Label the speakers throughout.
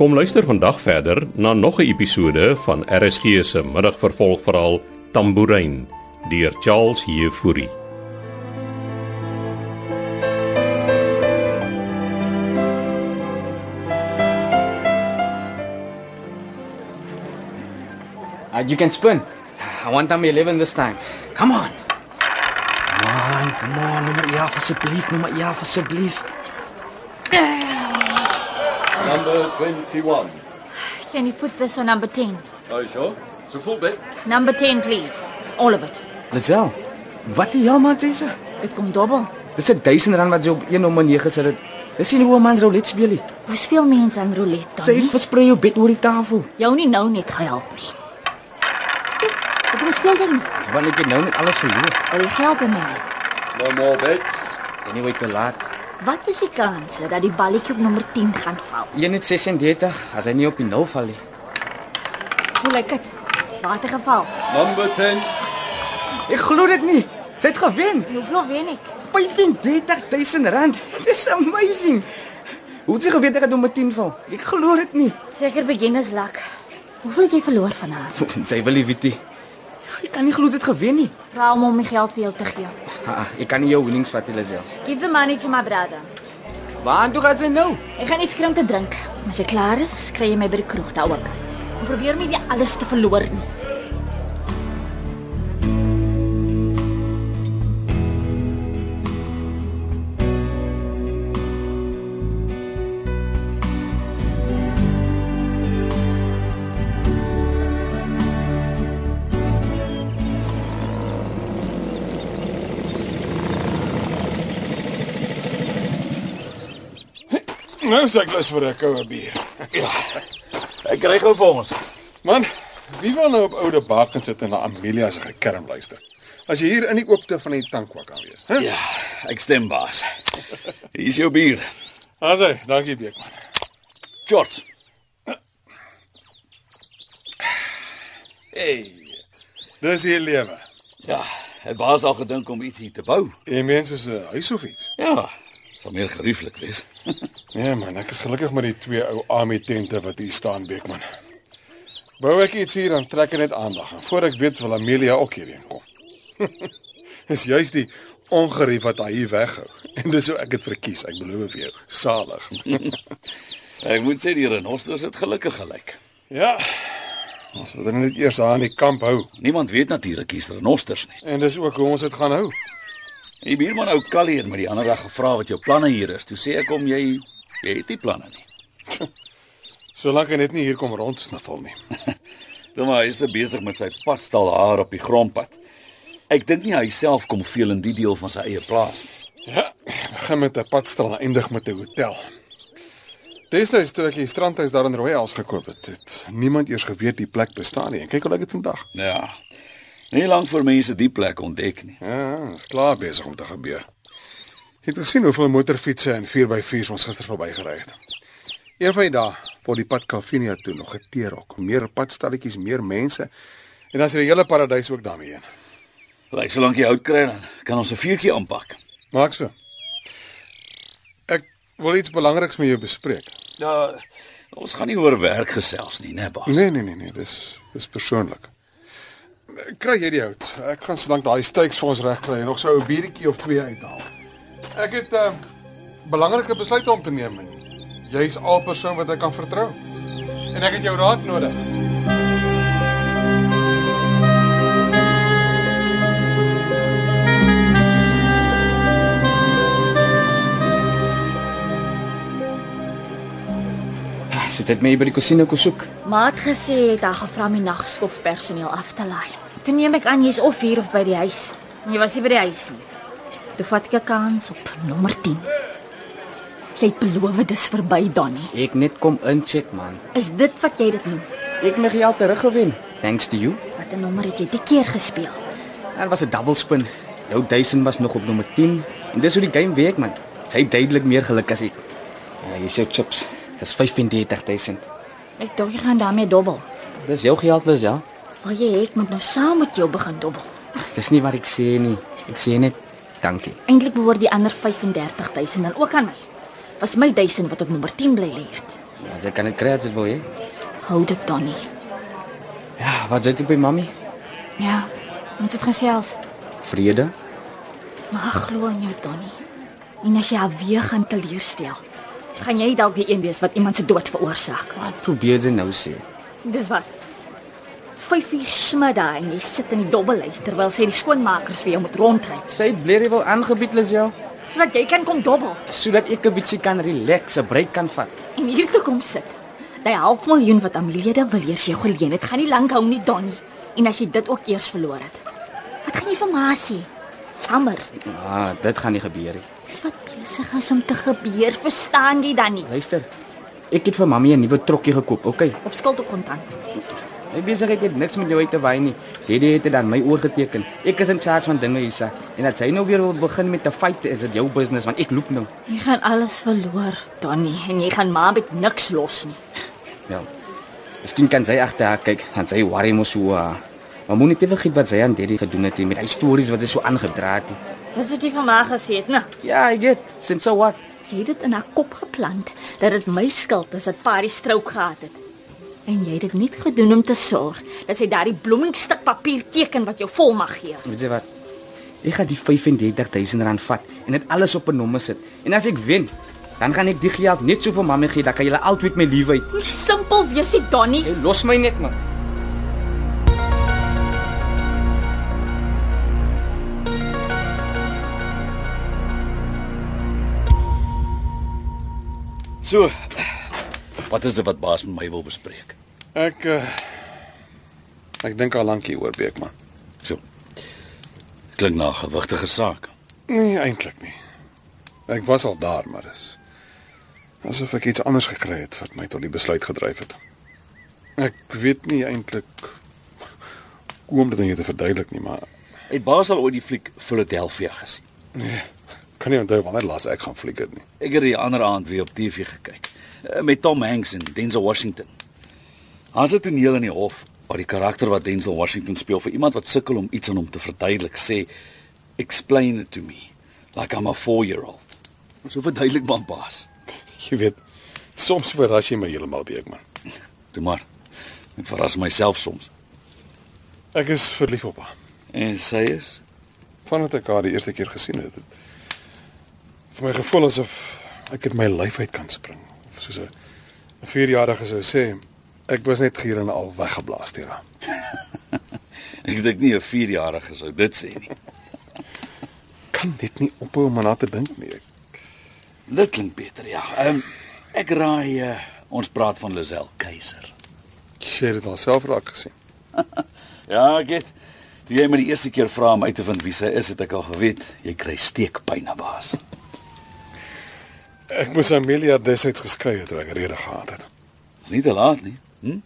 Speaker 1: Kom luister vandag verder na nog 'n episode van RSG se middagvervolgverhaal Tambourine deur Charles Heffury.
Speaker 2: Uh, you can spin. I want number 11 this time. Come on.
Speaker 3: Man, come on, nommer 11 asseblief, nommer 11 asseblief.
Speaker 4: Number 21.
Speaker 5: Can you put this on number 10?
Speaker 4: Are you sure? It's a full bet.
Speaker 5: Number 10, please. All of it.
Speaker 2: Lisel, wat die hel man sê se?
Speaker 5: Dit kom dobbel.
Speaker 2: Dis 'n 1000 rand wat jy op 1 nommer 9 sit. het. Dis nie hoe 'n man roulette speel nie.
Speaker 5: Hoeveel mense aan roulette dan?
Speaker 2: Sy
Speaker 5: nie?
Speaker 2: versprei jou bed oor die tafel.
Speaker 5: Jou nie nou net gehelp nie. Ek moet speel dan.
Speaker 2: Want ek het nou net alles verloor.
Speaker 5: Al die geld by my. nie.
Speaker 4: No more bets.
Speaker 2: Anyway, te laat.
Speaker 5: Wat is die kanse dat die balletjie op nommer 10 gaan val?
Speaker 2: 1.36 as hy nie op die nul val nie.
Speaker 5: Voel ek dit? Water geval.
Speaker 4: Number 10.
Speaker 2: Ek glo dit nie. Sy het gewen.
Speaker 5: En Hoeveel wen ek?
Speaker 2: 35000 rand. Dis amazing. Hoe het sy geweet ek het hom met 10 val? Ek glo dit nie.
Speaker 5: Seker beginners luck. Hoeveel het jy verloor van haar?
Speaker 2: sy wil nie weet nie. Ek kan nie glo dit gewen nie.
Speaker 5: Vra hom om die geld vir jou te gee.
Speaker 2: Ha, Ah, ek kan nie jou winnings vat, Lisel.
Speaker 5: Give the money to my brother.
Speaker 2: Waar toe gaan sy nou?
Speaker 5: Ek gaan iets krim te drink. As jy klaar is, kry jy my by die kroeg daar ook. En probeer my nie alles te verloor nie.
Speaker 6: Nou sê ek lus vir 'n koue bier. Ja.
Speaker 7: Ek kry gou vir ons.
Speaker 6: Man, wie wil nou op oude bakken sit en na Amelia se gekerm luister? As jy hier in die oopte van die tankwak kan wees, hè?
Speaker 7: Ja, ek stem baas. Hier is jou bier.
Speaker 6: Asai, dankie Beekman.
Speaker 7: George. Hey.
Speaker 6: Dis hier lewe.
Speaker 7: Ja, het baas al gedink om iets hier te bou?
Speaker 6: Jy meen soos 'n huis of iets?
Speaker 7: Ja, sal meer gerieflik wees.
Speaker 6: Nee man, ek is gelukkig met die twee ou army tente wat hier staan Beekman. Bou ek iets hier dan trek ek net aandag en voor ek weet wil Amelia ook hierheen kom. Dis juis die ongerief wat hy hier weghou. En dis hoe ek dit verkies, ek beloof jou, salig.
Speaker 7: Ek moet sê die renosters het gelukkig gelyk.
Speaker 6: Ja. Ons moet dit net eers aan die kamp hou
Speaker 7: Niemand weet natuurlik hier's renosters nie.
Speaker 6: en dis ook hoe ons dit gaan hou.
Speaker 7: Die buurman ou Callie het met die ander dag gevra wat jou planne hier is. Toe sê ek hom jy, jy het nie planne nie.
Speaker 6: Solank hy net nie hier kom rondsniffel nie.
Speaker 7: Dink Nou maar hy is te besig met sy pastel haar op die grondpad. Ek dink nie hy self kom veel in die deel van sy eie plaas nie.
Speaker 6: Ja, begin met 'n padstal en eindig met 'n hotel. Destyds toe ek die strandhuis daar in Rooiels gekoop het, het niemand eers geweet die plek bestaan nie. En kyk hoe lyk dit vandag.
Speaker 7: Ja. Nie lank voor mense die plek ontdek nie.
Speaker 6: Ja, dit is klaar besig om te gebeur. Jy het gesien hoeveel motorfietsse en 4x4's ons gister verbygery het. Een van die dae word die pad Calvinia toe nog geteerok. Meer padstalletjies, meer mense en dan is die hele paradys ook daarmee heen.
Speaker 7: Lyk solank jy hout kry dan kan ons 'n vuurtjie aanpak.
Speaker 6: Maak so. Ek wil iets belangriks met jou bespreek.
Speaker 7: Ja, ons gaan nie oor werk gesels nie, né, baas?
Speaker 6: Nee nee nee nee, dis dis persoonlik. Kry jy die hout? Ek gaan solank daai steaks vir ons regkry en nog so 'n biertjie of twee uithaal. Ek het 'n uh, belangrike besluit om te neem. en Jy's al persoon wat ek kan vertrou. En ek het jou raad nodig.
Speaker 2: Ah, Sit dit my by die kusine kom soek.
Speaker 5: Maat gesê het hy gevra my nagskof personeel af te laai. Toe neem ek aan jy's of hier of by die huis. En Jy was nie by die huis nie. Toe vat ek 'n kans op nommer 10. Jy het beloof dis verby, Donnie.
Speaker 2: Ek net kom incheck man.
Speaker 5: Is dit wat jy dit noem?
Speaker 2: Ek my geld teruggewen. Thanks to you.
Speaker 5: Wat 'n nommer het jy die keer gespeel?
Speaker 2: Daar was 'n dubbelspin. Jou 1000 was nog op nommer 10 en dis hoe die game werk man. Sy het duidelik meer geluk as ek. Ja, hier is jou chips. Dis 35000.
Speaker 5: Ek dink jy gaan daarmee dobbel.
Speaker 2: Dis jou geld, Lisel.
Speaker 5: Wil jy hê ek moet nou saam met jou begin dobbel?
Speaker 2: Dis nie wat ek sê nie. Ek sê net dankie.
Speaker 5: Eintlik behoort die ander 35000 dan ook aan my. Was my 1000 wat op nommer 10 bly lê het.
Speaker 2: Ja, sy kan dit kry as sy wil hê.
Speaker 5: Hou dit dan nie.
Speaker 2: Ja, wat sê jy by mami?
Speaker 5: Ja. Ons het gesels.
Speaker 2: Vrede?
Speaker 5: Maar ek glo in jou, Donnie. En as jy haar weer gaan teleurstel, gaan jy dalk die een wees wat iemand se dood veroorsaak.
Speaker 2: Wat probeer jy nou sê?
Speaker 5: Dis wat. 5 uur smiddag en jy sit in die dobbelhuis terwyl sy die skoonmakers vir jou moet rondry.
Speaker 2: Sy het Blerry wil aangebied Lisel
Speaker 5: Sodat jy kan kom dobbel
Speaker 2: sodat ek 'n bietjie kan relax, 'n break kan vat.
Speaker 5: en hier toe kom sit. Daai half miljoen wat aan lede wil eers jou geleen het, gaan nie lank hou nie, Donnie. En as jy dit ook eers verloor het, wat gaan jy vir ma sê? Jammer.
Speaker 2: Ah, dit gaan nie gebeur nie.
Speaker 5: Dis wat besig is om te gebeur, verstaan jy dan nie?
Speaker 2: Luister. Ek het vir mammy 'n nuwe trokkie gekoop. OK.
Speaker 5: Op skuld op kontant.
Speaker 2: My besigheid het niks met jou uit te wy nie. Daddy het dit aan my oorgeteken. Ek is in charge van dinge hierse. En as hy nou weer wil begin met 'n fight, is dit jou business want ek loop nou.
Speaker 5: Jy gaan alles verloor, Donnie, en jy gaan maar met niks los nie.
Speaker 2: Ja. Miskien kan sy agter haar kyk, want sy worry mos hoe. haar. Maar moenie te vergeet wat sy aan Daddy gedoen het nie, met hy stories wat sy so aangedra het. nie.
Speaker 5: Dis wat jy vir my gesê het, nou. né?
Speaker 2: Ja, ek weet. Since so what?
Speaker 5: Jy het dit in haar kop geplant dat dit my skuld is dat Parie strook gehad het. En jy het dit nie gedoen om te sorg dat sy daardie bloemingstuk papier teken wat jou volmag gee.
Speaker 2: Weet jy wat? Ek gaan die 35000 rand vat en dit alles op 'n nommer sit. En as ek wen, dan gaan ek die geld net so vir mamma gee, dan kan julle altyd my lief hê.
Speaker 5: Hoe simpel wees dit, Donnie?
Speaker 2: Jy los my net man.
Speaker 7: So, wat is dit wat baas met my wil bespreek?
Speaker 6: Ek uh, ek dink al lank hier oor Beekman.
Speaker 7: So. Klink na 'n gewigtige saak.
Speaker 6: Nee, eintlik nie. Ek was al daar, maar dis asof ek iets anders gekry het wat my tot die besluit gedryf het. Ek weet nie eintlik hoe om dit aan jou te verduidelik nie, maar
Speaker 7: Het baas al ooit die fliek Philadelphia gesien?
Speaker 6: kan nie onthou wanneer laas ek gaan fliek het nie.
Speaker 7: Ek het die ander aand weer op TV gekyk eh, met Tom Hanks en Denzel Washington. Ons het 'n toneel in die hof waar die karakter wat Denzel Washington speel vir iemand wat sukkel om iets aan hom te verduidelik sê, "Explain it to me like I'm a 4-year-old." So verduidelik maar baas.
Speaker 6: Jy weet, soms verras jy my heeltemal, Beekman.
Speaker 7: Toe maar. Ek verras myself soms.
Speaker 6: Ek is verlief op haar.
Speaker 7: En sy is
Speaker 6: Vandat ek haar die eerste keer gesien het, het vir my gevoel asof ek uit my lyf uit kan spring. Of soos 'n 'n 4-jarige sou sê, ek was net gier en al weggeblaas deur haar.
Speaker 7: ek dink nie 'n 4-jarige sou dit sê nie.
Speaker 6: kan net nie ophou om aan haar te dink nie. Ek-
Speaker 7: Dit klink beter, ja. Ehm um, ek raai uh, ons praat van Lisel Keiser.
Speaker 6: Jy het dit alself raak gesien.
Speaker 7: Ja, ek het toe jy my die eerste keer vra om uit te vind wie sy is, het ek al geweet jy kry steekpyn na baas.
Speaker 6: Ek moes Amelia destyds geskei het toe ek rede gehad het.
Speaker 7: Dis nie te laat nie. Hm?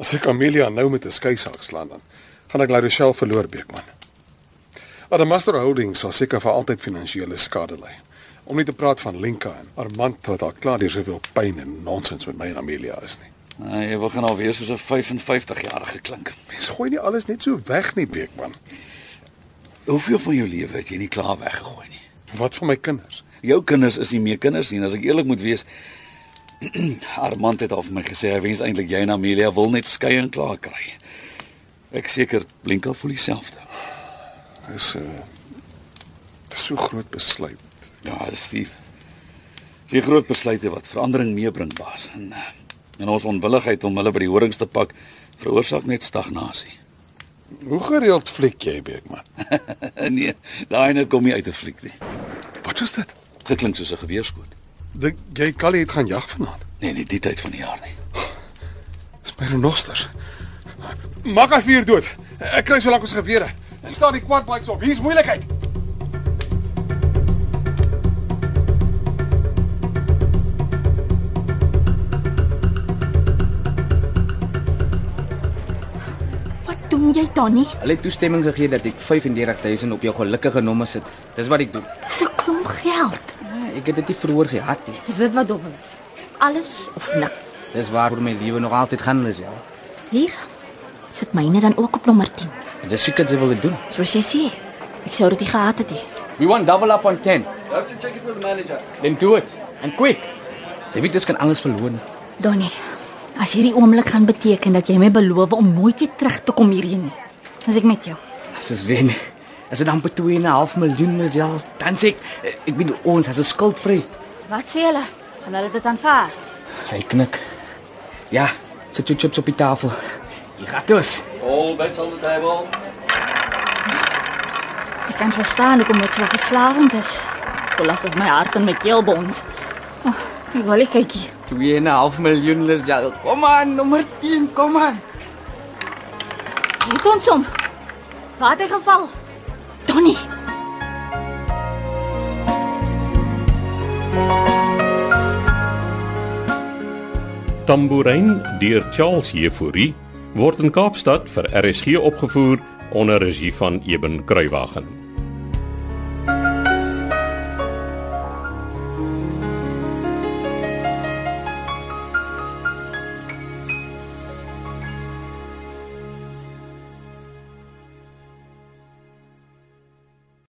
Speaker 6: As ek Amelia nou met 'n skeisaak slaan dan gaan ek La Rochelle verloor Beekman. Adamaster Holdings sal seker vir altyd finansiële skade ly. Om nie te praat van Lenka en Armand wat al klaar deur soveel pyn en nonsens met my en Amelia is nie.
Speaker 7: Nou, jy begin al weer soos 'n 55-jarige klink.
Speaker 6: Mens gooi nie alles net so weg nie Beekman.
Speaker 7: Hoeveel van jou lewe het jy nie klaar weggegooi nie?
Speaker 6: Wat van my kinders?
Speaker 7: Jou kinders is nie meer kinders nie, en as ek eerlik moet wees. Armand het al vir my gesê hy wens eintlik jy en Amelia wil net skei en klaar kry. Ek seker Blinka voel dieselfde.
Speaker 6: Dis 'n uh, dis so groot besluit.
Speaker 7: Ja, dis die dis die groot besluite wat verandering meebring, baas. En eh, en ons onwilligheid om hulle by die horings te pak veroorsaak net stagnasie.
Speaker 6: Hoe gereeld fliek jy Beekman?
Speaker 7: nee, daai nou kom nie uit 'n fliek nie.
Speaker 6: Wat is dit?
Speaker 7: Geklink soos 'n geweerskoot.
Speaker 6: Dink jy Callie het gaan jag vanaand?
Speaker 7: Nee, nie die tyd van die jaar nie.
Speaker 6: Dis my renosters. Maak hy vuur dood. Ek kry solank ons gewere. Ek staan die quad bikes op. Hier's moeilikheid.
Speaker 5: Wat doen jy, Donnie?
Speaker 2: Hulle het toestemming gegee dat ek 35000 op jou gelukkige nommer sit. Dis wat ek doen.
Speaker 5: Dis 'n klomp geld.
Speaker 2: Ah, Ek het dit nie verhoor gehad nie.
Speaker 5: Is dit wat dobbel is? Alles of niks.
Speaker 2: Dis waaroor my lewe nog altyd gaan is, ja.
Speaker 5: Hier sit myne dan ook op nommer 10.
Speaker 2: En dis seker wat sy wil dit doen.
Speaker 5: Soos jy sê, ek sou dit nie gehad het nie.
Speaker 2: We want double up on 10.
Speaker 4: You have to check it with the manager.
Speaker 2: Then do it and quick. Sy weet dis kan alles verloor nie.
Speaker 5: Donnie, as hierdie oomblik gaan beteken dat jy my beloof om nooit weer terug te kom hierheen nie, dan is ek met jou.
Speaker 2: As ons wen, as dit amper 2 en 'n half miljoen is ja, dan sê ek eh, ek bedoel ons as 'n skuldvry.
Speaker 5: Wat sê hulle? Gaan hulle dit aanvaar?
Speaker 2: Hy knik. Ja, sit jou chips op die tafel. Jy gaan dus.
Speaker 4: All bets on the table.
Speaker 5: Ek kan verstaan hoekom dit so verslawend is. Voel asof my hart in my keel bons. Oh, ek wil nie kyk hier.
Speaker 2: 2 en 'n half miljoen is ja. Kom aan, nommer 10, kom aan.
Speaker 5: Hier het ons hom. Waar het hy gaan val? Donnie.
Speaker 1: Tambourin deur Charles Jefouri word in Kaapstad vir RSG opgevoer onder regie van Eben Kruiwagen.